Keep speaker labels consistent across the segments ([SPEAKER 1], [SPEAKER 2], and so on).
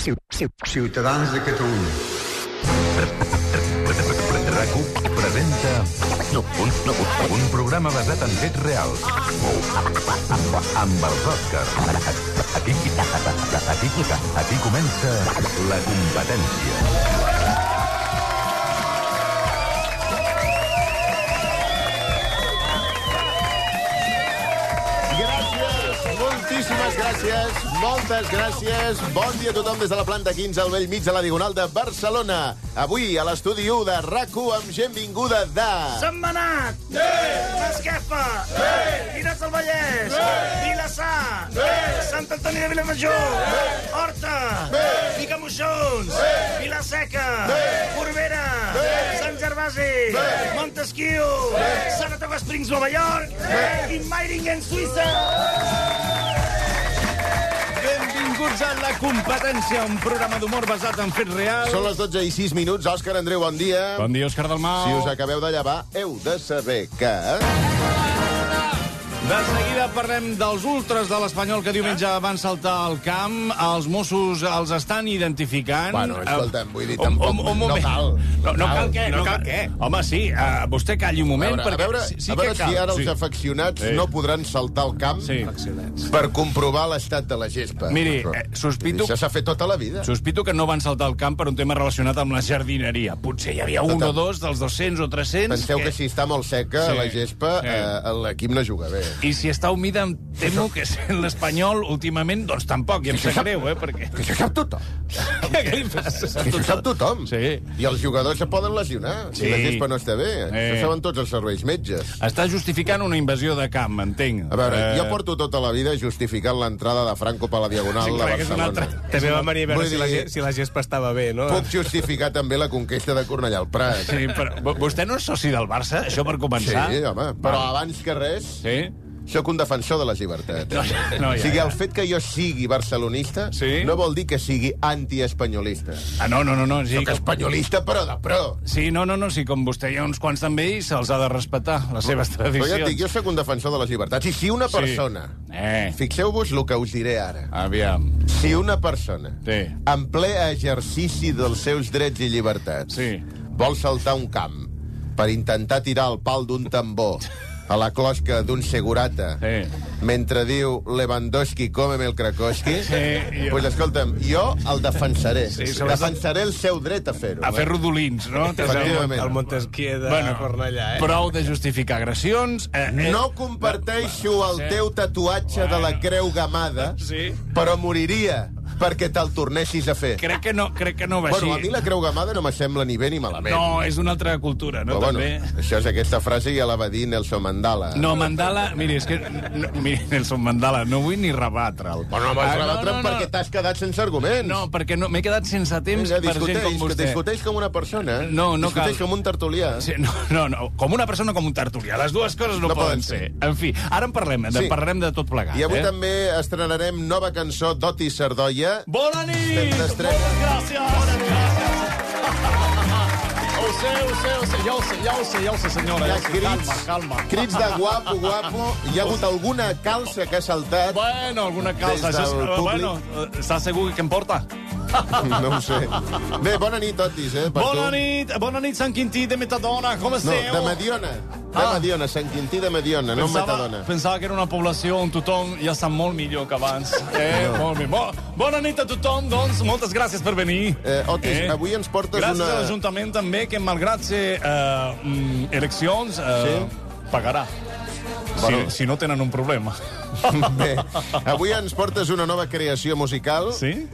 [SPEAKER 1] Ciutadans de Catalunya.
[SPEAKER 2] RAC1 presenta un, un programa basat en fets reals. Amb els Òscars. Aquí, aquí, aquí comença la competència.
[SPEAKER 3] Gràcies, moltíssimes gràcies, moltes gràcies. Bon dia a tothom des de la planta 15 al vell mig de la Diagonal de Barcelona. Avui a l'estudi 1 de rac amb gent vinguda de...
[SPEAKER 4] Setmanat! Sí! Masquefa! Sí! Vines del Vallès! Sí! Vilassar! Sí! Sant Antoni de Vilamajor! Sí! Horta! Sí! Vicamoixons! Sí! Vilaseca! Sí! Corbera! Sí! Sant Gervasi! Sí! Montesquieu! Sí! Saratoga Springs, Nova York! Sí! I Meiringen, Suïssa!
[SPEAKER 5] Benvinguts a La Competència, un programa d'humor basat en fets reals.
[SPEAKER 3] Són les 12 i 6 minuts. Òscar, Andreu, bon dia.
[SPEAKER 5] Bon dia, Òscar Dalmau.
[SPEAKER 3] Si us acabeu de llevar, heu de saber que...
[SPEAKER 5] De seguida parlem dels ultres de l'Espanyol que diumenge van saltar al camp. Els Mossos els estan identificant. Eh,
[SPEAKER 3] Bueno, escolta'm, vull dir,
[SPEAKER 5] Un-
[SPEAKER 3] tampoc-
[SPEAKER 5] un- un
[SPEAKER 3] no
[SPEAKER 5] moment.
[SPEAKER 3] cal.
[SPEAKER 5] No, no cal què?
[SPEAKER 6] No cal què?
[SPEAKER 5] Home, sí, eh, vostè calli un
[SPEAKER 3] A
[SPEAKER 5] moment,
[SPEAKER 3] veure, a
[SPEAKER 5] perquè
[SPEAKER 3] veure,
[SPEAKER 5] sí, sí
[SPEAKER 3] a veure
[SPEAKER 5] que cal.
[SPEAKER 3] si ara els
[SPEAKER 5] Sí.
[SPEAKER 3] afeccionats
[SPEAKER 5] Sí.
[SPEAKER 3] no podran saltar al camp
[SPEAKER 5] Sí.
[SPEAKER 3] per comprovar l'estat de la gespa.
[SPEAKER 5] Miri,
[SPEAKER 3] Això.
[SPEAKER 5] eh, sospito-
[SPEAKER 3] Això s'ha fet tota la vida.
[SPEAKER 5] Sospito que no van saltar al camp per un tema relacionat amb la jardineria. Potser hi havia un
[SPEAKER 3] Escolta,
[SPEAKER 5] o dos dels 200 o 300...
[SPEAKER 3] Penseu que si està molt seca
[SPEAKER 5] Sí.
[SPEAKER 3] la gespa,
[SPEAKER 5] Sí.
[SPEAKER 3] eh, l'equip no juga bé.
[SPEAKER 5] I si està humida, em temo que sent l'Espanyol últimament, doncs tampoc, i em sap greu, eh, perquè...
[SPEAKER 3] Que això ho sap tothom.
[SPEAKER 5] Què li passa?
[SPEAKER 3] Que això ho sap tothom.
[SPEAKER 5] Sí.
[SPEAKER 3] I els jugadors se poden lesionar.
[SPEAKER 5] Sí. Eh.
[SPEAKER 3] Si la gespa no està bé.
[SPEAKER 5] Sí.
[SPEAKER 3] Això saben tots els serveis metges.
[SPEAKER 5] Està justificant una invasió de camp, entenc.
[SPEAKER 3] A veure,
[SPEAKER 5] Eh.
[SPEAKER 3] jo porto tota la vida justificant l'entrada de Franco per la Diagonal de
[SPEAKER 5] clar, que és una
[SPEAKER 3] Barcelona.
[SPEAKER 5] altra-
[SPEAKER 6] També va venir a veure
[SPEAKER 3] Vull
[SPEAKER 6] si la,
[SPEAKER 3] dir-
[SPEAKER 6] ge- si la gespa estava bé, no?
[SPEAKER 3] Puc justificar també la conquesta de Cornellà al Prat.
[SPEAKER 5] Sí, però vo- vostè no és soci del Barça, això per començar?
[SPEAKER 3] Sí, home. Però abans que res,
[SPEAKER 5] Ah. Sí?
[SPEAKER 3] sóc un defensor de les llibertats.
[SPEAKER 5] No, no,
[SPEAKER 3] O
[SPEAKER 5] ja,
[SPEAKER 3] sigui,
[SPEAKER 5] ja.
[SPEAKER 3] el fet que jo sigui barcelonista
[SPEAKER 5] Sí.
[SPEAKER 3] no vol dir que sigui antiespanyolista.
[SPEAKER 5] Ah, no, no, no, no. Sí,
[SPEAKER 3] Sóc
[SPEAKER 5] com...
[SPEAKER 3] espanyolista, però de pro.
[SPEAKER 5] Sí, no, no, no, sí, com vostè hi ha uns quants també i se'ls ha de respectar, les seves
[SPEAKER 3] Però ja
[SPEAKER 5] tradicions.
[SPEAKER 3] et dic, jo sóc un defensor de les llibertats. I si una
[SPEAKER 5] Sí.
[SPEAKER 3] persona...
[SPEAKER 5] Eh,
[SPEAKER 3] Fixeu-vos el que us diré ara.
[SPEAKER 5] aviam.
[SPEAKER 3] Si una persona,
[SPEAKER 5] Sí.
[SPEAKER 3] en ple exercici dels seus drets i llibertats,
[SPEAKER 5] Sí.
[SPEAKER 3] vol saltar un camp per intentar tirar el pal d'un tambor a la closca d'un segurata
[SPEAKER 5] Sí.
[SPEAKER 3] mentre diu Lewandowski, cómeme el Krakowski,
[SPEAKER 5] Sí, jo-
[SPEAKER 3] pues, escolta'm, jo el defensaré. Sí,
[SPEAKER 5] sobretot-
[SPEAKER 3] defensaré el seu dret a fer-ho. eh?
[SPEAKER 5] A fer rodolins, no? T'has de-
[SPEAKER 3] Efectivament.
[SPEAKER 6] El Montesquieu de
[SPEAKER 5] Bueno,
[SPEAKER 6] Cornellà, eh?
[SPEAKER 5] Prou de justificar agressions. Eh, eh,
[SPEAKER 3] No comparteixo el teu tatuatge de la creu gamada,
[SPEAKER 5] Sí.
[SPEAKER 3] però moriria perquè te'l tornessis a fer.
[SPEAKER 5] Crec que no, crec que no va
[SPEAKER 3] Bueno, a
[SPEAKER 5] així.
[SPEAKER 3] mi la creu gamada no m'assembla ni bé ni malament.
[SPEAKER 5] No, és una altra cultura, no?
[SPEAKER 3] Però bueno,
[SPEAKER 5] També.
[SPEAKER 3] això és aquesta frase ja la va dir Nelson Mandala.
[SPEAKER 5] No, Mandala... Miri, és que... No, miri, Nelson Mandala, no vull ni rebatre'l.
[SPEAKER 3] Bueno, vas
[SPEAKER 5] Ah,
[SPEAKER 3] ah, no, no, perquè t'has quedat sense arguments.
[SPEAKER 5] No, perquè no, m'he quedat sense temps
[SPEAKER 3] Vinga,
[SPEAKER 5] per gent
[SPEAKER 3] discuteix,
[SPEAKER 5] com
[SPEAKER 3] que
[SPEAKER 5] vostè.
[SPEAKER 3] discuteix com una persona.
[SPEAKER 5] No, no
[SPEAKER 3] discuteix
[SPEAKER 5] cal.
[SPEAKER 3] com un tertulià.
[SPEAKER 5] Sí, no, no, no, com una persona com un tertulià. Les dues coses no,
[SPEAKER 3] No poden
[SPEAKER 5] poden ser. En fi, ara en parlem, eh, de,
[SPEAKER 3] Sí.
[SPEAKER 5] parlarem de tot plegat.
[SPEAKER 3] I avui
[SPEAKER 5] eh?
[SPEAKER 3] també estrenarem nova cançó d'Oti Sardoia.
[SPEAKER 5] Bona nit!
[SPEAKER 3] Estem d'estrena.
[SPEAKER 5] Moltes gràcies! Bona nit!
[SPEAKER 6] Ho sé, ho sé, ho sé, ja ho sé, ja ho sé, ja ho sé, senyora.
[SPEAKER 3] Hi ha crits, crits de guapo, guapo. Hi ha hagut alguna calça que ha saltat?
[SPEAKER 5] Bueno, alguna calça.
[SPEAKER 3] Des del
[SPEAKER 5] Això és-
[SPEAKER 3] públic.
[SPEAKER 5] Bueno, eh, estàs segur que em porta?
[SPEAKER 3] No ho sé. Bé, bona nit, Otis, eh, per
[SPEAKER 5] Bona
[SPEAKER 3] tu.
[SPEAKER 5] nit, bona nit, Sant Quintí de Metadona, com
[SPEAKER 3] No,
[SPEAKER 5] esteu?
[SPEAKER 3] de Mediona. De
[SPEAKER 5] Ah.
[SPEAKER 3] Mediona, Sant Quintí de Mediona, no Matadona.
[SPEAKER 5] pensava que era una població on tothom ja està molt millor que abans. Eh, no. molt bé. Bo, bona nit a tothom, doncs, moltes gràcies per venir.
[SPEAKER 3] Eh, Otis, avui ens portes
[SPEAKER 5] gràcies
[SPEAKER 3] una-
[SPEAKER 5] Gràcies a l'Ajuntament també, que malgrat ser eh, mm, eleccions, eh, sí. pagarà.
[SPEAKER 3] Bueno.
[SPEAKER 5] Si, si no tenen un problema.
[SPEAKER 3] Bé, avui ens portes una nova creació musical.
[SPEAKER 5] Sí?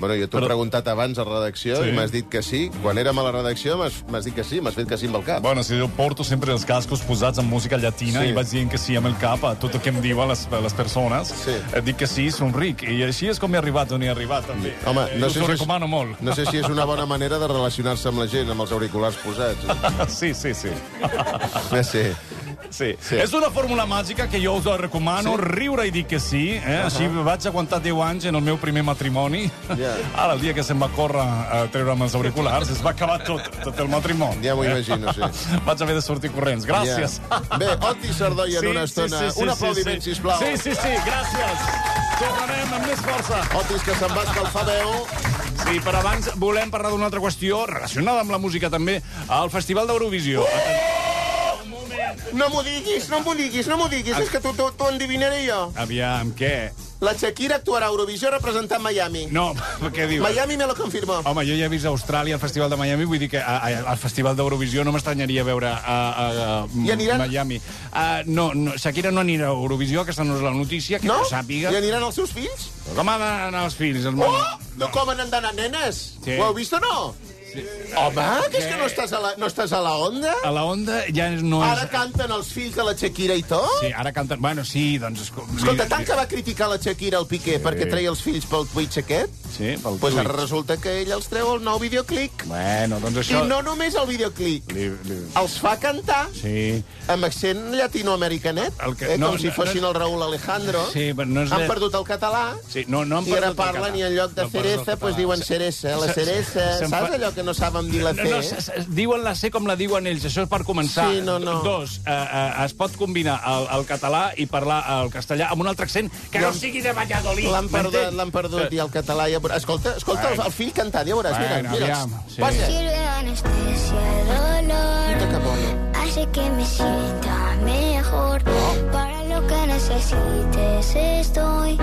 [SPEAKER 3] Bueno, jo t'ho he
[SPEAKER 5] Però-
[SPEAKER 3] preguntat abans a redacció
[SPEAKER 5] Sí.
[SPEAKER 3] i m'has dit que sí. Quan érem a la redacció m'has m'has dit que sí, m'has fet que sí amb el cap.
[SPEAKER 5] Bueno, si jo porto sempre els cascos posats en música llatina
[SPEAKER 3] Sí.
[SPEAKER 5] sí. i vaig dient que sí amb el cap a tot el que em diuen les, les persones,
[SPEAKER 3] Sí.
[SPEAKER 5] sí. dic que sí, somric. I així és com he arribat on he arribat, també.
[SPEAKER 3] Home,
[SPEAKER 5] Eh,
[SPEAKER 3] no
[SPEAKER 5] us
[SPEAKER 3] sé,
[SPEAKER 5] ho
[SPEAKER 3] si
[SPEAKER 5] recomano molt.
[SPEAKER 3] no sé si és una bona manera de relacionar-se amb la gent, amb els auriculars posats. eh?
[SPEAKER 5] Sí, sí, sí.
[SPEAKER 3] No sé.
[SPEAKER 5] Sí.
[SPEAKER 3] Sí.
[SPEAKER 5] sí. És una fórmula màgica que jo us la recomano, sí. riure i dir que sí. Eh? Així vaig aguantar 10 anys en el meu primer matrimoni.
[SPEAKER 3] Ja.
[SPEAKER 5] Ara, el dia que se'm va córrer a treure'm els auriculars, es va acabar tot, tot el matrimoni.
[SPEAKER 3] Ja m'ho imagino, sí.
[SPEAKER 5] Vaig haver de sortir corrents. Gràcies.
[SPEAKER 3] Ja. Bé, Otis Sardoia en una estona. Un aplaudiment,
[SPEAKER 5] sí.
[SPEAKER 3] sisplau.
[SPEAKER 5] Sí, sí, sí, gràcies. Tornarem amb més força.
[SPEAKER 3] Otis, que se'n va escalfar veu.
[SPEAKER 5] Sí, però abans volem parlar d'una altra qüestió relacionada amb la música, també, al Festival d'Eurovisió.
[SPEAKER 3] No m'ho diguis, no m'ho diguis, no m'ho diguis. És que t'ho endivinaré jo.
[SPEAKER 5] Aviam, què?
[SPEAKER 3] La Shakira actuarà a Eurovisió representant Miami.
[SPEAKER 5] No, què dius?
[SPEAKER 3] Miami me lo confirmó.
[SPEAKER 5] Home, jo ja he vist Austràlia al Festival de Miami, vull dir que a, a, al Festival d'Eurovisió no m'estranyaria veure a, a, a
[SPEAKER 3] Hi aniran?
[SPEAKER 5] Miami. Uh, no, no, Shakira no anirà a Eurovisió, aquesta no és la notícia, que
[SPEAKER 3] No?
[SPEAKER 5] no sàpiga.
[SPEAKER 3] I aniran els seus fills?
[SPEAKER 5] Com han d'anar els fills? Els
[SPEAKER 3] Oh! No, com han d'anar nenes?
[SPEAKER 5] Sí.
[SPEAKER 3] Ho heu vist o no? Home, que és que no estàs a la, no estàs a la onda?
[SPEAKER 5] A la onda ja no és...
[SPEAKER 3] Ara canten els fills de la Shakira i tot?
[SPEAKER 5] Ah, Sí, ara canten... Bueno, sí, doncs... escol-
[SPEAKER 3] Escolta, tant que va criticar la Shakira al Piqué sí. perquè treia els fills pel Twitch aquest,
[SPEAKER 5] Sí, pel
[SPEAKER 3] doncs
[SPEAKER 5] tuit.
[SPEAKER 3] ara resulta que ell els treu el nou videoclip.
[SPEAKER 5] Bueno, doncs
[SPEAKER 3] I
[SPEAKER 5] això...
[SPEAKER 3] no només el videoclip,
[SPEAKER 5] Li, li...
[SPEAKER 3] els fa cantar
[SPEAKER 5] Sí.
[SPEAKER 3] amb accent llatinoamericanet,
[SPEAKER 5] El que-
[SPEAKER 3] eh,
[SPEAKER 5] no,
[SPEAKER 3] com si
[SPEAKER 5] no,
[SPEAKER 3] fossin
[SPEAKER 5] no-
[SPEAKER 3] el Raúl Alejandro.
[SPEAKER 5] Sí, però no és
[SPEAKER 3] Han
[SPEAKER 5] de-
[SPEAKER 3] perdut el català.
[SPEAKER 5] Sí, no, no han
[SPEAKER 3] I ara
[SPEAKER 5] perdut el
[SPEAKER 3] parlen i
[SPEAKER 5] català.
[SPEAKER 3] en lloc de
[SPEAKER 5] No perdut el
[SPEAKER 3] cereza,
[SPEAKER 5] català.
[SPEAKER 3] doncs diuen ceresa. La
[SPEAKER 5] Se-
[SPEAKER 3] ceresa,
[SPEAKER 5] se'n fa-
[SPEAKER 3] saps allò que no saben dir la
[SPEAKER 5] No,
[SPEAKER 3] C?
[SPEAKER 5] no, s- s- diuen la C com la diuen ells, això és per començar.
[SPEAKER 3] Sí, no, no.
[SPEAKER 5] Dos, eh, eh, es pot combinar el, el català i parlar el castellà amb un altre accent que no,
[SPEAKER 3] L'han-
[SPEAKER 5] sigui de Valladolid.
[SPEAKER 3] L'han perdut,
[SPEAKER 5] m'entens?
[SPEAKER 3] l'han perdut, i el català ja veuràs. Escolta, escolta el, el fill cantant, ja veuràs. Mira,
[SPEAKER 5] Bueno,
[SPEAKER 3] mira.
[SPEAKER 5] aviam, sí.
[SPEAKER 3] Passa.
[SPEAKER 7] Sirve de anestesia el dolor,
[SPEAKER 3] Quita que pone.
[SPEAKER 7] hace que me sienta mejor. Para lo que necesites estoy,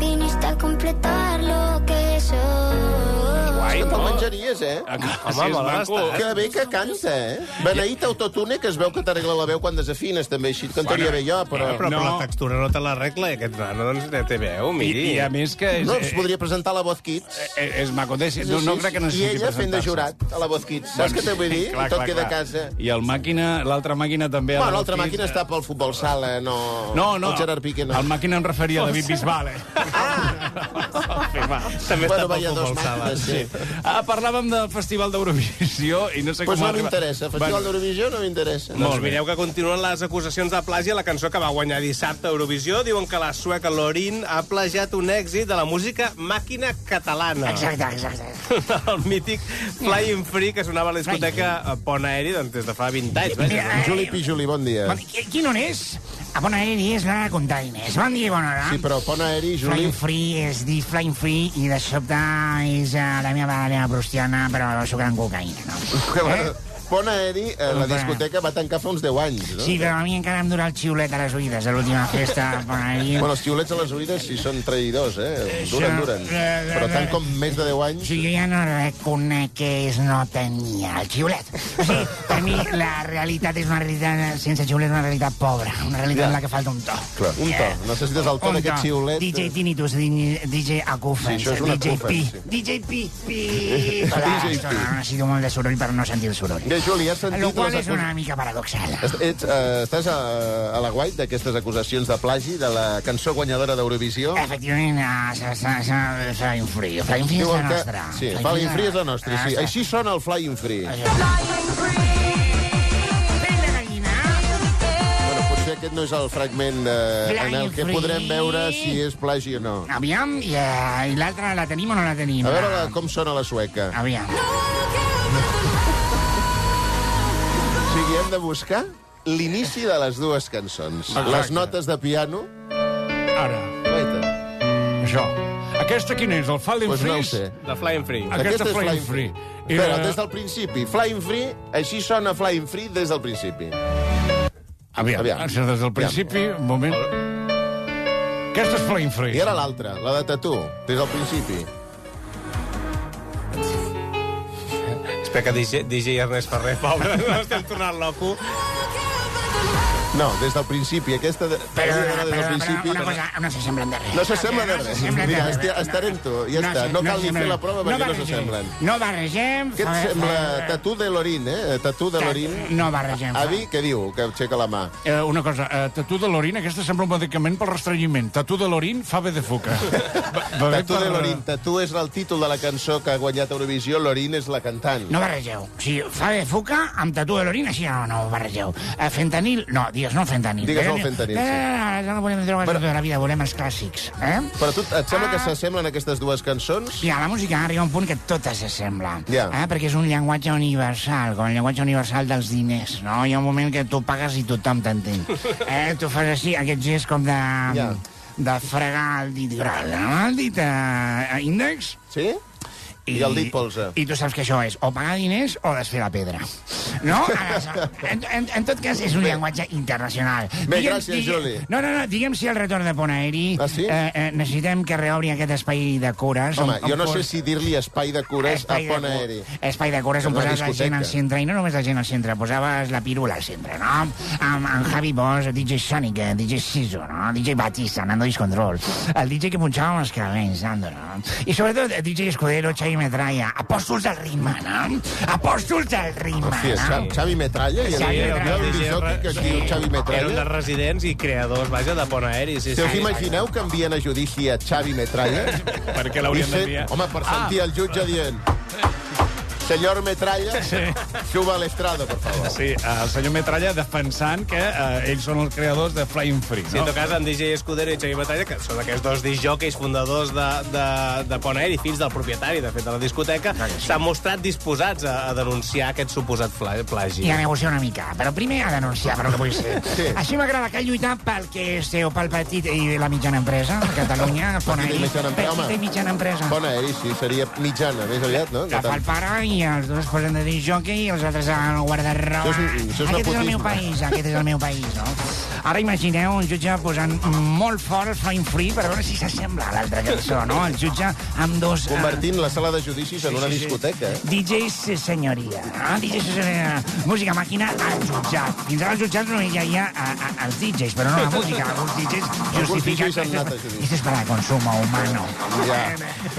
[SPEAKER 7] viniste a completar lo que soy.
[SPEAKER 5] Guai,
[SPEAKER 3] Que te'l
[SPEAKER 5] no?
[SPEAKER 3] menjaries, eh?
[SPEAKER 5] Ah, sí, és maco.
[SPEAKER 3] Que bé que canta, eh? Beneït autotune, que es veu que t'arregla la veu quan desafines, també. Així et cantaria bé jo, però...
[SPEAKER 8] Però no.
[SPEAKER 5] No.
[SPEAKER 8] la textura no te l'arregla, i aquest nano, doncs ja té veu,
[SPEAKER 5] I,
[SPEAKER 8] miri.
[SPEAKER 5] I a més que és, eh,
[SPEAKER 3] No, es
[SPEAKER 5] és,
[SPEAKER 3] podria presentar a la Voz Kids.
[SPEAKER 5] és, és maco. De, no, no crec que
[SPEAKER 3] I
[SPEAKER 5] necessiti
[SPEAKER 3] ella fent de
[SPEAKER 5] presentar-se.
[SPEAKER 3] jurat a la Voz Kids. Saps què t'ho vull dir? I tot queda a casa.
[SPEAKER 5] I el màquina, l'altra màquina també... a
[SPEAKER 3] Bueno,
[SPEAKER 5] la
[SPEAKER 3] l'altra
[SPEAKER 5] Botquí,
[SPEAKER 3] màquina
[SPEAKER 5] eh,
[SPEAKER 3] està pel futbol sala, no...
[SPEAKER 5] No, no.
[SPEAKER 3] El Gerard Piqué no.
[SPEAKER 5] El màquina em referia a David Bisbal, eh?
[SPEAKER 8] També
[SPEAKER 3] Ah. Bueno,
[SPEAKER 8] està pel
[SPEAKER 3] veia dos
[SPEAKER 8] futbol sala.
[SPEAKER 3] màquines, sí.
[SPEAKER 5] Ah, parlàvem del Festival d'Eurovisió i no sé
[SPEAKER 3] Pues
[SPEAKER 5] com...
[SPEAKER 3] no
[SPEAKER 5] arriba-
[SPEAKER 3] m'interessa. Festival d'Eurovisió no m'interessa.
[SPEAKER 5] Molt
[SPEAKER 8] Doncs
[SPEAKER 5] bé.
[SPEAKER 8] mireu que continuen les acusacions de plagi a la cançó que va guanyar dissabte a Eurovisió. Diuen que la sueca Lorin ha plagiat un èxit de la música màquina catalana. Exacte, exacte. El mític Flying Free, que sonava a la discoteca Pont Aeri doncs, des de fa 20 anys. Vaja.
[SPEAKER 3] Juli Pijuli, bon dia.
[SPEAKER 9] Bon, qui- qui no n'és? A Bona Aeri és la Containers. Bon dia i bona hora.
[SPEAKER 3] Sí, però pon aeri, Juli.
[SPEAKER 9] Flying Free és dir Flying Free i de sobte és eh, la meva balena prustiana, però sucre amb cocaïna, no?
[SPEAKER 3] Eh? Pon aeri, eh, la discoteca va tancar fa uns 10 anys, no?
[SPEAKER 9] Sí, però a mi encara em dura el xiulet a les oïdes de l'última festa a Bona Aeri.
[SPEAKER 3] Bueno, els xiulets a les oïdes sí són traïdors, eh? Duren,
[SPEAKER 9] Això-
[SPEAKER 3] duren. Però tant com més de 10 anys...
[SPEAKER 9] Sí, jo ja no reconec que és no tenia el xiulet. O sigui, per mi la realitat és una realitat sense xiulet, una realitat pobra, una realitat en la que falta un to.
[SPEAKER 3] Clar, un to. Necessites el to
[SPEAKER 9] Un
[SPEAKER 3] d'aquest xiulet. eh.
[SPEAKER 9] DJ Tinnitus, di- DJ Acufens,
[SPEAKER 3] Sí, això és un
[SPEAKER 9] DJ Pi.
[SPEAKER 3] acúfens, sí.
[SPEAKER 9] DJ Pi. Pi. Hola,
[SPEAKER 3] DJ
[SPEAKER 9] sona,
[SPEAKER 3] Pi.
[SPEAKER 9] Necessito molt de soroll per no sentir el soroll.
[SPEAKER 3] Bé, Juli, has sentit...
[SPEAKER 9] Lo qual
[SPEAKER 3] les
[SPEAKER 9] és
[SPEAKER 3] acu-
[SPEAKER 9] una mica paradoxal.
[SPEAKER 3] Est- Ets, eh, estàs a, a la guai d'aquestes acusacions de plagi de la cançó guanyadora d'Eurovisió?
[SPEAKER 9] Efectivament, ah, s'ha- s'ha- s'ha- s'ha influït. La influït és la nostra.
[SPEAKER 3] Sí, Flying Free és la nostra, sí. Així sona el Flying Free.
[SPEAKER 9] Pell de gallina.
[SPEAKER 3] Bueno, potser aquest no és el fragment de, en el
[SPEAKER 9] Flying
[SPEAKER 3] que
[SPEAKER 9] Free.
[SPEAKER 3] podrem veure si és plagi o no.
[SPEAKER 9] Aviam, i, eh, i l'altra la tenim o no la tenim?
[SPEAKER 3] A veure la, com sona la sueca.
[SPEAKER 9] Aviam.
[SPEAKER 3] O sigui, hem de buscar l'inici de les dues cançons. Les notes de piano...
[SPEAKER 5] Ara,
[SPEAKER 3] Guaita.
[SPEAKER 5] això. Aquesta quina és? El Fallen
[SPEAKER 3] Pues no ho sé.
[SPEAKER 8] De Flying Free.
[SPEAKER 5] Aquesta
[SPEAKER 3] és
[SPEAKER 5] Flying Free. I
[SPEAKER 3] Però
[SPEAKER 5] la-
[SPEAKER 3] des del principi. Flying Free, així sona Flying Free des del principi.
[SPEAKER 5] Aviam,
[SPEAKER 3] Aviam.
[SPEAKER 5] Aviam. des del principi, un moment... Aquesta és Flying
[SPEAKER 3] I
[SPEAKER 5] Free.
[SPEAKER 3] ara l'altra, la de Tatú, des del principi.
[SPEAKER 8] Espera que DJ, DJ Ernest Ferrer, pobre, no estem tornant loco.
[SPEAKER 3] No, des del principi. Aquesta de...
[SPEAKER 9] Però,
[SPEAKER 3] hauria
[SPEAKER 9] però,
[SPEAKER 3] d'anar des del principi...
[SPEAKER 9] una cosa, no s'assemblen de res.
[SPEAKER 3] No s'assemblen de res.
[SPEAKER 9] s'assemblen de
[SPEAKER 3] Mira,
[SPEAKER 9] res.
[SPEAKER 3] esti- estarem tu, ja està.
[SPEAKER 9] se-
[SPEAKER 3] No cal ni fer
[SPEAKER 9] s'assemblen.
[SPEAKER 3] la prova perquè no
[SPEAKER 9] barregem.
[SPEAKER 3] s'assemblen.
[SPEAKER 9] No barregem...
[SPEAKER 3] Què et
[SPEAKER 9] fa-
[SPEAKER 3] sembla?
[SPEAKER 9] fa-
[SPEAKER 3] Tatú de Lorin, eh? Tatú de Lorin.
[SPEAKER 9] No barregem. fa.
[SPEAKER 3] Avi, què diu? Que aixeca la mà.
[SPEAKER 5] Eh, una cosa, eh, tatú de l'orin, aquesta sembla un medicament pel restrenyiment. Tatú de l'orin fa bé de foca. Va- va bé
[SPEAKER 3] Tatú
[SPEAKER 5] per-
[SPEAKER 3] de Lorin. Tatú és el títol de la cançó que ha guanyat Eurovisió. Lorin és la cantant.
[SPEAKER 9] No barregeu. O sigui, fa de foca amb tatu de l'orina, així no, no ho barregeu. Eh, fentanil, no, digues no fentanil. Eh,
[SPEAKER 3] Digues no fentanil, sí.
[SPEAKER 9] No, no, eh, no, no volem drogues
[SPEAKER 3] Però-
[SPEAKER 9] Però... tota la vida, volem els clàssics. Eh?
[SPEAKER 3] Però tu et sembla que
[SPEAKER 9] Ah.
[SPEAKER 3] s'assemblen aquestes dues cançons?
[SPEAKER 9] Mira, la música arriba a un punt que totes s'assemblen.
[SPEAKER 3] Ja.
[SPEAKER 9] Eh? Perquè és un llenguatge universal, com el llenguatge universal dels diners, no? Hi ha un moment que tu pagues i tothom t'entén. Eh? Tu fas així, aquest gest com de...
[SPEAKER 3] Ja.
[SPEAKER 9] de fregar el dit gran amb el dit eh, índex.
[SPEAKER 3] Sí? I el dit polze.
[SPEAKER 9] I tu saps que això és o pagar diners o desfer la pedra. No? Aleshores, En, en, en tot cas, és un llenguatge internacional.
[SPEAKER 3] Bé, gràcies, Juli.
[SPEAKER 9] No, no, no, diguem si el retorn de Ponaeri...
[SPEAKER 3] Ah, sí?
[SPEAKER 9] Eh, eh, necessitem que reobri aquest espai de cures.
[SPEAKER 3] Home,
[SPEAKER 9] on- on
[SPEAKER 3] jo no sé
[SPEAKER 9] cur-
[SPEAKER 3] si dir-li espai de cures a
[SPEAKER 9] Espai de
[SPEAKER 3] Pont
[SPEAKER 9] cu-
[SPEAKER 3] Aeri.
[SPEAKER 9] Espai de cures on
[SPEAKER 3] Una
[SPEAKER 9] posaves la gent
[SPEAKER 3] discoteca.
[SPEAKER 9] al centre, i no només la gent al centre, posaves la pirula al centre, no? Amb en Javi Bosch, el DJ Sonic, el DJ Siso, no? El DJ Batista, Nando Discontrol, el DJ que punxava amb els cabells, Nando, no? I sobretot el DJ Escudero, Xavi Metralla, apòstols del ritme, no? Apòstols del ritme,
[SPEAKER 3] Sí, és Xavi- Xavi Metralla. I el,
[SPEAKER 9] Xavi
[SPEAKER 3] el,
[SPEAKER 9] Metralla.
[SPEAKER 3] el, discjockey que es diu Xavi
[SPEAKER 8] Era un
[SPEAKER 3] Metralla.
[SPEAKER 8] dels residents i creadors, vaja, de Bon Aeri. Sí,
[SPEAKER 3] Si us
[SPEAKER 8] sí.
[SPEAKER 3] imagineu que envien a judici a Xavi Metralla...
[SPEAKER 5] Per què l'haurien d'enviar?
[SPEAKER 3] Home, per
[SPEAKER 9] Ah.
[SPEAKER 3] sentir el jutge dient... Senyor Metralla, suba a l'estrada, per favor.
[SPEAKER 5] Sí, el senyor Metralla defensant que eh, ells són els creadors de Flying Free,
[SPEAKER 8] Sí, en
[SPEAKER 5] no?
[SPEAKER 8] tot cas, en DJ Escudero i Xavi Batalla, que són aquests dos disjòqueis fundadors de, de, de Pont Aeri, fills del propietari, de fet, de la discoteca, s'han mostrat disposats a, a denunciar aquest suposat fla- plagi.
[SPEAKER 9] i a negociar una mica. Però primer a denunciar, però que vull ser.
[SPEAKER 3] Sí.
[SPEAKER 9] Sí. Així m'agrada que lluitar pel que és seu, pel petit i la mitjana empresa a Catalunya. Pon
[SPEAKER 3] Petita i
[SPEAKER 9] ahí.
[SPEAKER 3] mitjana empresa, home.
[SPEAKER 9] Petita i mitjana empresa.
[SPEAKER 3] Bon aeri, eh, sí, seria mitjana, més aviat, no?
[SPEAKER 9] La
[SPEAKER 3] No
[SPEAKER 9] fa el
[SPEAKER 3] tant.
[SPEAKER 9] pare i els dos posen de dir jockey i els altres han guardat roba.
[SPEAKER 3] Això és- això és
[SPEAKER 9] aquest és el
[SPEAKER 3] nepotisme.
[SPEAKER 9] meu país, aquest és el meu país, no? Ara imagineu un jutge posant molt fort el Flying Free per veure si s'assembla a l'altra cançó, no? El jutge amb dos... eh,
[SPEAKER 3] Convertint la sala de judicis en una
[SPEAKER 9] sí, sí.
[SPEAKER 3] discoteca. eh?
[SPEAKER 9] DJs senyoria. Ah, DJs senyoria. Música màquina al jutjat. Fins ara als jutjats no hi havia a, a, els DJs, però no la música. Alguns DJs justifiquen...
[SPEAKER 3] DJs han anat a judici.
[SPEAKER 9] Esto es para consumo humano.
[SPEAKER 3] Ja.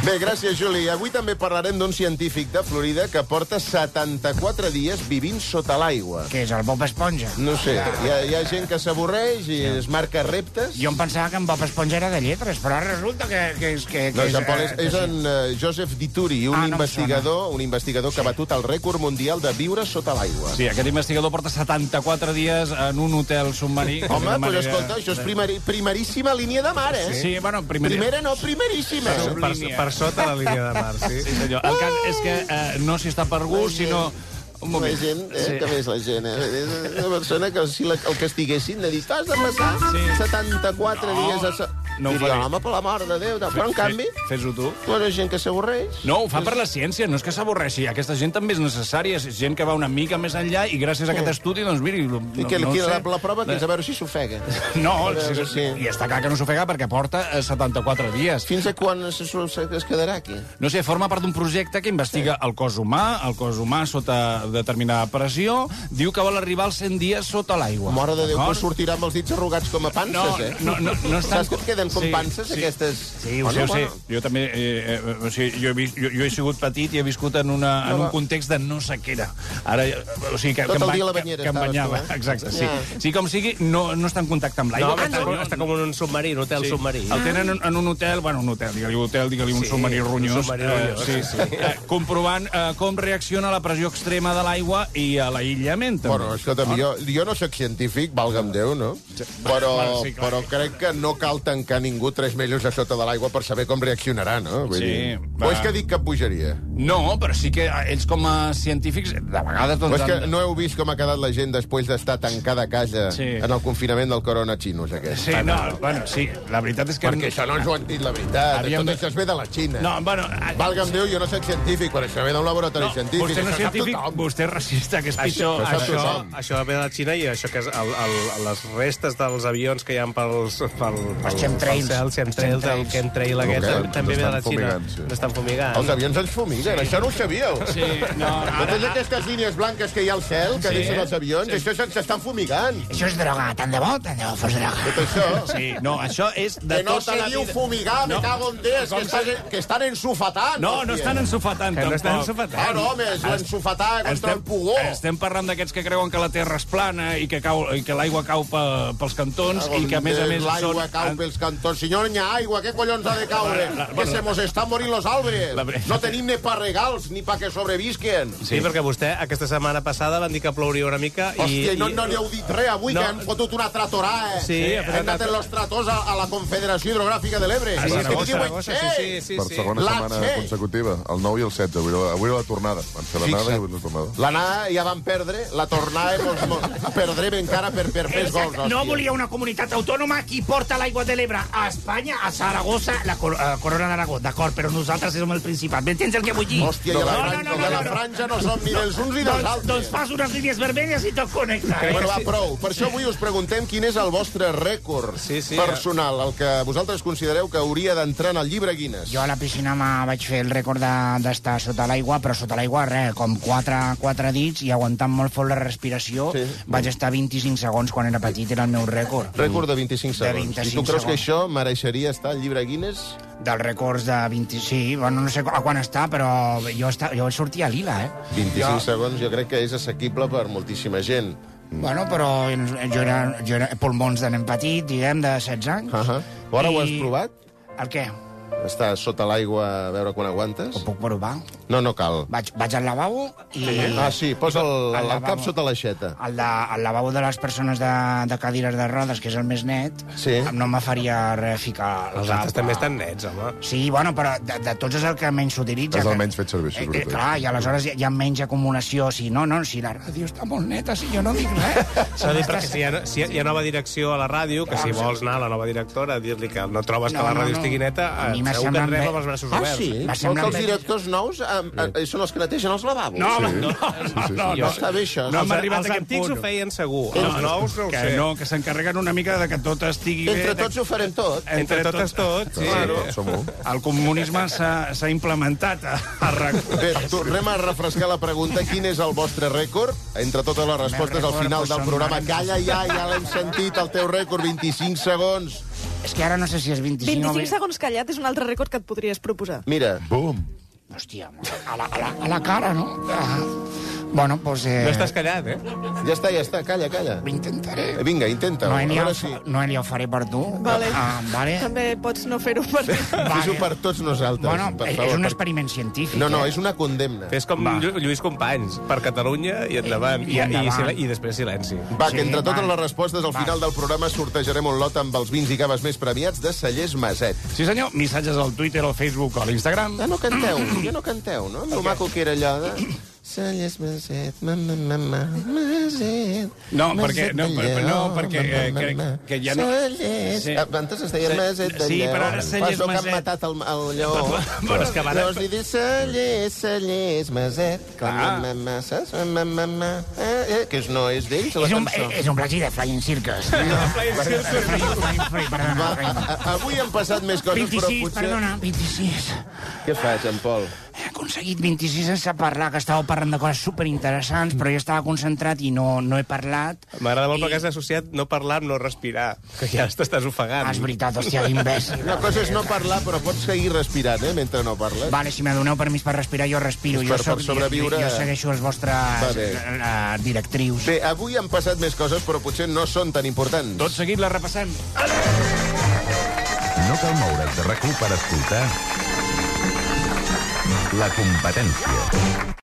[SPEAKER 3] Bé, gràcies, Juli. Avui també parlarem d'un científic de Florida que porta 74 dies vivint sota l'aigua.
[SPEAKER 9] Que és el Bob Esponja.
[SPEAKER 3] No sé, hi ha, hi ha gent que s'avorreix i es marca reptes.
[SPEAKER 9] Jo em pensava que en Bob Esponja era de lletres, però ara resulta que, que és... Que,
[SPEAKER 3] No,
[SPEAKER 9] que
[SPEAKER 3] Jean Paul, és,
[SPEAKER 9] eh,
[SPEAKER 3] és en eh, Joseph Dituri, un
[SPEAKER 9] Ah,
[SPEAKER 3] ah,
[SPEAKER 9] no em
[SPEAKER 3] investigador, un investigador que ha batut el rècord mundial de viure sota l'aigua.
[SPEAKER 5] Sí, aquest investigador porta 74 dies en un hotel submarí.
[SPEAKER 3] Home,
[SPEAKER 5] Una
[SPEAKER 3] doncs
[SPEAKER 5] manera-
[SPEAKER 3] escolta, això és primari, primeríssima línia de mar, eh?
[SPEAKER 5] Sí, bueno, primer...
[SPEAKER 3] Primera no, primeríssima.
[SPEAKER 8] Per, per sota la línia de mar, sí.
[SPEAKER 5] Sí, senyor. El cas és que eh, no s'hi està per gust, sinó...
[SPEAKER 3] La
[SPEAKER 5] Un moment.
[SPEAKER 3] gent, eh, sí. que més la gent, eh? És una persona que si la, el castiguessin de dir, t'has de passar sí. 74
[SPEAKER 5] No,
[SPEAKER 3] dies... A... sa-"
[SPEAKER 5] no ho
[SPEAKER 3] Diria,
[SPEAKER 5] faré.
[SPEAKER 3] home, per la mort de Déu. Però, en canvi,
[SPEAKER 5] Fes-ho tu.
[SPEAKER 3] no hi ha gent que s'avorreix.
[SPEAKER 5] No, ho fa per la ciència, no és que s'avorreixi. Aquesta gent també és necessària, és gent que va una mica més enllà i gràcies a aquest estudi, doncs miri... No,
[SPEAKER 3] I que,
[SPEAKER 5] no
[SPEAKER 3] no,
[SPEAKER 5] ho
[SPEAKER 3] la,
[SPEAKER 5] sé.
[SPEAKER 3] la prova que és a veure si s'ofega.
[SPEAKER 5] No,
[SPEAKER 3] A veure,
[SPEAKER 5] sí, sí.
[SPEAKER 3] sí.
[SPEAKER 5] i està clar que no s'ofega perquè porta eh, 74 dies.
[SPEAKER 3] Fins a quan se, se, es quedarà aquí?
[SPEAKER 5] No sé, forma part d'un projecte que investiga el cos humà, el cos humà sota determinada pressió, diu que vol arribar als 100 dies sota l'aigua.
[SPEAKER 3] Mare de Déu,
[SPEAKER 5] D'acord?
[SPEAKER 3] que sortirà amb els dits arrugats com a panses,
[SPEAKER 5] no,
[SPEAKER 3] eh?
[SPEAKER 5] no, no, no estan...
[SPEAKER 3] Saps que et queden com panses, aquestes?
[SPEAKER 5] Sí, ho sé, ho sé. Jo també... Eh, eh, o sigui, jo, he vist, jo, jo he sigut petit i he viscut en, una,
[SPEAKER 3] No,
[SPEAKER 5] en
[SPEAKER 3] va.
[SPEAKER 5] un context de no sequera. Ara, eh, o sigui, que,
[SPEAKER 3] Tot
[SPEAKER 5] que em
[SPEAKER 3] el
[SPEAKER 5] ba-
[SPEAKER 3] dia a la
[SPEAKER 5] que-
[SPEAKER 3] banyera
[SPEAKER 5] que, em
[SPEAKER 3] estaves tu,
[SPEAKER 5] banyava.
[SPEAKER 3] eh?
[SPEAKER 5] Exacte, sí.
[SPEAKER 3] Ja.
[SPEAKER 5] Sí, com sigui, no, no està en contacte amb
[SPEAKER 8] No,
[SPEAKER 5] l'aigua.
[SPEAKER 8] ah, està, com, està com en un submarí, un hotel sí. submarí.
[SPEAKER 5] El tenen en, en un hotel, bueno, un hotel, digue-li hotel, digue-li un
[SPEAKER 8] Sí,
[SPEAKER 5] submarí
[SPEAKER 8] un
[SPEAKER 5] ronyós.
[SPEAKER 8] submarí ronyós.
[SPEAKER 5] sí, sí. Eh, comprovant eh, com reacciona la pressió extrema de l'aigua i a l'aïllament, també.
[SPEAKER 3] Bueno, escolta'm, jo, jo no sóc científic, valga'm Déu, no? Però,
[SPEAKER 5] Bueno, sí, clar.
[SPEAKER 3] però crec que no cal tancar ningú tres mesos a sota de l'aigua per saber com reaccionarà, no? Vull
[SPEAKER 5] Sí,
[SPEAKER 3] dir.
[SPEAKER 5] va.
[SPEAKER 3] O és que dic cap bogeria?
[SPEAKER 5] No, però sí que eh, ells com a científics, de vegades...
[SPEAKER 3] O
[SPEAKER 5] Doncs,
[SPEAKER 3] és que
[SPEAKER 5] han-
[SPEAKER 3] no heu vist com ha quedat la gent després d'estar tancada a casa
[SPEAKER 5] Sí.
[SPEAKER 3] en el confinament del corona xinus, aquest?
[SPEAKER 5] Sí, no, bueno, sí, la veritat és que...
[SPEAKER 3] Perquè això no ens ho han dit, la veritat.
[SPEAKER 5] Havíem
[SPEAKER 3] Tot
[SPEAKER 5] de-
[SPEAKER 3] això es ve de la Xina.
[SPEAKER 5] No, bueno... eh,
[SPEAKER 3] Valga'm Déu, jo no sóc científic, però això ve d'un laboratori
[SPEAKER 5] no,
[SPEAKER 3] científic.
[SPEAKER 5] Vostè no
[SPEAKER 3] això
[SPEAKER 5] és
[SPEAKER 3] sap
[SPEAKER 5] científic,
[SPEAKER 3] tothom.
[SPEAKER 5] vostè és racista, que és pitjor.
[SPEAKER 3] això sap
[SPEAKER 5] Això,
[SPEAKER 3] tothom.
[SPEAKER 8] Això ve de la Xina i això que és el, el, les restes dels avions que hi ha pels, pel, pel, pel,
[SPEAKER 9] chemtrails.
[SPEAKER 8] cel, chemtrails, el
[SPEAKER 9] chemtrails.
[SPEAKER 8] chemtrail aquest,
[SPEAKER 3] Ok,
[SPEAKER 8] okay, també ve de la
[SPEAKER 3] estan
[SPEAKER 8] Xina.
[SPEAKER 3] fumigant, sí.
[SPEAKER 8] L'estan fumigant.
[SPEAKER 3] Els avions ens fumiguen, sí. això no ho sabíeu. Sí.
[SPEAKER 5] Ah, no,
[SPEAKER 3] Totes aquestes línies blanques que hi ha al cel, que sí. deixen els avions, sí. això se'ns estan fumigant.
[SPEAKER 9] Això és droga, tant de bo, tant de bo fos droga.
[SPEAKER 3] Tot això... Sí.
[SPEAKER 5] sí, no, això és de
[SPEAKER 3] Que no
[SPEAKER 5] tota
[SPEAKER 3] se
[SPEAKER 5] la
[SPEAKER 3] diu
[SPEAKER 5] vida.
[SPEAKER 3] fumigar, me
[SPEAKER 5] No.
[SPEAKER 3] cago en Déu, que, estan, que estan ensufatant.
[SPEAKER 5] No, no estan ensufatant,
[SPEAKER 8] Que no
[SPEAKER 5] tampoc.
[SPEAKER 8] estan ensufatant.
[SPEAKER 3] Ah, no, home, és l'ensufatar contra el pugó.
[SPEAKER 5] estem parlant d'aquests que creuen que la Terra és plana i que, cau, i que l'aigua cau pe, pels cantons
[SPEAKER 3] Cago en
[SPEAKER 5] i que, a més a
[SPEAKER 3] Déu,
[SPEAKER 5] més,
[SPEAKER 3] Ah, doncs L'aigua cau
[SPEAKER 5] són... Ah,
[SPEAKER 3] pels cantons. Senyor, hi ha aigua, què collons ha de caure?
[SPEAKER 5] La- la-
[SPEAKER 3] Que
[SPEAKER 5] bueno,
[SPEAKER 3] se mos estan morint los arbres.
[SPEAKER 5] La veritat-
[SPEAKER 3] No tenim ni pa regals, ni pa que sobrevisquen.
[SPEAKER 8] Sí, perquè vostè aquesta setmana passada van dir que plouria una mica i...
[SPEAKER 3] Hòstia, i no, no li heu dit res avui,
[SPEAKER 8] No.
[SPEAKER 3] que han fotut una tratorà, eh?
[SPEAKER 8] Sí, ha fet
[SPEAKER 3] han anat
[SPEAKER 8] una-
[SPEAKER 3] en los trators a, a la Confederació Hidrogràfica de l'Ebre.
[SPEAKER 8] Sí, sí,
[SPEAKER 3] que diuen,
[SPEAKER 8] Saragossa, sí,
[SPEAKER 3] "Ei,
[SPEAKER 8] sí, sí,
[SPEAKER 10] per
[SPEAKER 8] sí.
[SPEAKER 10] segona
[SPEAKER 3] La
[SPEAKER 10] setmana
[SPEAKER 3] Txell.
[SPEAKER 10] consecutiva, el 9 i el 16. Avui era, avui era la tornada. Van fer l'anada i
[SPEAKER 3] Fixa't.
[SPEAKER 10] avui la tornada.
[SPEAKER 3] L'anada ja van perdre, la tornada eh, mos, mos, perdrem encara per, per més gols.
[SPEAKER 9] No
[SPEAKER 3] hòstia.
[SPEAKER 9] volia una comunitat autònoma qui porta l'aigua de l'Ebre. veure, a Espanya, a Saragossa, la cor eh, corona d'Aragó, d'acord, però nosaltres som el principat. M'entens el que vull dir?
[SPEAKER 3] Hòstia, i a la franja- i a la franja no som ni dels uns ni dels
[SPEAKER 9] Doncs-
[SPEAKER 3] altres.
[SPEAKER 9] Doncs fas unes línies vermelles i tot connecta. eh?
[SPEAKER 3] Bueno, va, prou. Per això avui us preguntem quin és el vostre rècord sí, sí, personal, el que vosaltres considereu que hauria d'entrar en el llibre Guinness.
[SPEAKER 9] Jo a la piscina me vaig fer el rècord de- d'estar de, sota l'aigua, però sota l'aigua, res, com quatre, quatre dits i aguantant molt fort la respiració. Sí. Vaig estar 25 segons quan era petit, era el meu rècord.
[SPEAKER 3] Rècord de 25
[SPEAKER 9] De
[SPEAKER 3] segons.
[SPEAKER 9] 25
[SPEAKER 3] I tu creus que
[SPEAKER 9] segons.
[SPEAKER 3] això mereixeria estar al llibre Guinness?
[SPEAKER 9] Mm. Dels rècords de 25... Sí, bueno, no sé a quan està, però jo, està, jo sortia lila, eh?
[SPEAKER 3] 25 jo... segons jo crec que és assequible per moltíssima gent.
[SPEAKER 9] Bueno, però jo era, jo era pulmons de nen petit, diguem, de 16 anys. Uh -huh.
[SPEAKER 3] Ara ho has provat?
[SPEAKER 9] El què?
[SPEAKER 3] Estar sota l'aigua a veure quan aguantes? Ho
[SPEAKER 9] puc provar?
[SPEAKER 3] No, no cal.
[SPEAKER 9] Vaig, vaig al lavabo i...
[SPEAKER 3] Sí? Ah, sí, posa el,
[SPEAKER 9] Al
[SPEAKER 3] el,
[SPEAKER 9] lavabo.
[SPEAKER 3] cap sota l'aixeta.
[SPEAKER 9] El, de, el lavabo de les persones de, de cadires de rodes, que és el més net, sí. no me faria res ficar... el
[SPEAKER 8] Els
[SPEAKER 9] cap
[SPEAKER 8] altres
[SPEAKER 9] a-
[SPEAKER 8] també estan nets, home.
[SPEAKER 9] Sí, bueno, però de, de tots és el que menys s'utilitza.
[SPEAKER 10] Has
[SPEAKER 9] que-
[SPEAKER 10] almenys fet servir, això,
[SPEAKER 9] Eh, eh, clar, i aleshores hi ha, hi ha menys acumulació. Si no, no, si la ràdio està molt neta, si jo no dic res.
[SPEAKER 8] S'ha dit perquè si hi, ha, si hi ha nova direcció a la ràdio, que si vols anar a la nova directora a dir-li que no trobes que la ràdio estigui neta,
[SPEAKER 9] A mi
[SPEAKER 8] eh,
[SPEAKER 9] m'ha
[SPEAKER 8] segur que et
[SPEAKER 9] semblat
[SPEAKER 8] rep
[SPEAKER 9] bé.
[SPEAKER 8] amb els braços
[SPEAKER 9] Ah,
[SPEAKER 8] oberts.
[SPEAKER 9] sí? M'ha
[SPEAKER 3] Vol que
[SPEAKER 9] semblat
[SPEAKER 3] els
[SPEAKER 9] bé.
[SPEAKER 3] directors nous eh, eh, són els que netegen els lavabos?
[SPEAKER 8] No, home,
[SPEAKER 3] sí.
[SPEAKER 8] no,
[SPEAKER 3] no, no, no. Està bé, això.
[SPEAKER 5] No hem
[SPEAKER 8] Els-
[SPEAKER 5] arribat
[SPEAKER 8] els
[SPEAKER 5] a aquest
[SPEAKER 8] antics
[SPEAKER 5] punt.
[SPEAKER 8] ho feien segur, els nous no ho
[SPEAKER 5] que
[SPEAKER 8] sé.
[SPEAKER 5] no, que s'encarreguen una mica de que tot estigui
[SPEAKER 3] Entre
[SPEAKER 5] bé. de-
[SPEAKER 3] tots ho farem tot.
[SPEAKER 5] Entre totes tot, sí.
[SPEAKER 10] Som-ho.
[SPEAKER 5] El comunisme s'ha s'ha implementat a, a RAC1.
[SPEAKER 3] Bé, tornem a refrescar la pregunta. Quin és el vostre rècord? Entre totes les respostes, al final del programa. Calla ja, ja l'hem sentit, el teu rècord, 25 segons.
[SPEAKER 9] És que ara no sé si és 25,
[SPEAKER 11] 25 segons callat és un altre rècord que et podries proposar.
[SPEAKER 3] Mira.
[SPEAKER 10] Bum.
[SPEAKER 9] Hòstia, a la, a la, a la cara, no? Ah. Bueno, doncs... Eh...
[SPEAKER 8] No estàs callat, eh?
[SPEAKER 3] Ja està, ja està, calla, calla.
[SPEAKER 9] Ho intentaré.
[SPEAKER 3] Eh, Vinga, intenta-ho. A
[SPEAKER 9] Noelia,
[SPEAKER 3] veure
[SPEAKER 9] si...
[SPEAKER 3] si...
[SPEAKER 9] Noelia, ho faré per tu.
[SPEAKER 11] Vale.
[SPEAKER 9] Ah, vale.
[SPEAKER 11] També pots no fer-ho per mi.
[SPEAKER 3] Fes-ho per tots nosaltres,
[SPEAKER 9] Bueno,
[SPEAKER 3] per
[SPEAKER 9] és-
[SPEAKER 3] favor.
[SPEAKER 9] és un
[SPEAKER 3] per-
[SPEAKER 9] experiment científic.
[SPEAKER 3] No, no,
[SPEAKER 9] eh?
[SPEAKER 3] és una condemna.
[SPEAKER 8] Fes com Llu- Lluís Companys, per Catalunya i endavant. I, i, i,
[SPEAKER 3] endavant.
[SPEAKER 8] i, i després silenci.
[SPEAKER 3] Va, que entre totes les respostes, al final del programa sortejarem un lot amb els vins i caves més premiats de Cellers Maset.
[SPEAKER 5] Sí, senyor, missatges al Twitter, al Facebook, a l'Instagram.
[SPEAKER 3] Ah, no canteu, ja no canteu, no? Lo maco que era allò de... Cellers Maset, ma, ma, ma, ma, Maset...
[SPEAKER 5] No, perquè- no,
[SPEAKER 3] Maset de
[SPEAKER 5] per- no,
[SPEAKER 3] Lleó,
[SPEAKER 5] perquè,
[SPEAKER 3] ma, ma,
[SPEAKER 5] eh,
[SPEAKER 3] ma,
[SPEAKER 5] crec
[SPEAKER 3] ma.
[SPEAKER 5] que ja no-
[SPEAKER 3] Cellers...
[SPEAKER 5] Sí.
[SPEAKER 3] Ah, Abans es deia
[SPEAKER 5] Sí,
[SPEAKER 3] Maset de
[SPEAKER 5] sí,
[SPEAKER 3] Lleó.
[SPEAKER 5] però ara Cellers
[SPEAKER 3] Perdó, que
[SPEAKER 5] Maset.
[SPEAKER 3] han matat el, el lleó.
[SPEAKER 5] Bueno, és que van-
[SPEAKER 3] Llavors li dius Cellers, Cellers Maset... Clar.
[SPEAKER 5] Ah.
[SPEAKER 3] Ma, ma, ma, saps? Ma, ma, ma, ma, eh, eh, que és- no és d'ells, la
[SPEAKER 9] És un,
[SPEAKER 3] cançó.
[SPEAKER 5] eh,
[SPEAKER 9] és un plagi de Flying Circus. No, Flying Circus.
[SPEAKER 3] Va, a- a- avui han passat més coses,
[SPEAKER 9] 26,
[SPEAKER 3] però potser...
[SPEAKER 9] perdona, 26.
[SPEAKER 3] Què fas, en Pol?
[SPEAKER 9] He aconseguit 26 sense parlar, que estava parlant de coses superinteressants, però jo estava concentrat i no, no he parlat.
[SPEAKER 8] M'agrada molt perquè has associat no parlar amb no respirar, que ja t'estàs ofegant.
[SPEAKER 9] És veritat, hòstia, que imbècil.
[SPEAKER 3] Una cosa és no parlar, però pots seguir respirant, eh, mentre no parles.
[SPEAKER 9] Vale, si me doneu permís per respirar, jo respiro.
[SPEAKER 3] Per-
[SPEAKER 9] jo
[SPEAKER 3] per
[SPEAKER 9] soc-
[SPEAKER 3] sobreviure-
[SPEAKER 9] Jo, jo segueixo els
[SPEAKER 3] Va
[SPEAKER 9] vostres
[SPEAKER 3] bé.
[SPEAKER 9] eh, directrius.
[SPEAKER 3] Bé, avui han passat més coses, però potser no són tan importants.
[SPEAKER 5] Tot seguit la repassem.
[SPEAKER 2] No cal moure's de rac per escoltar la competència.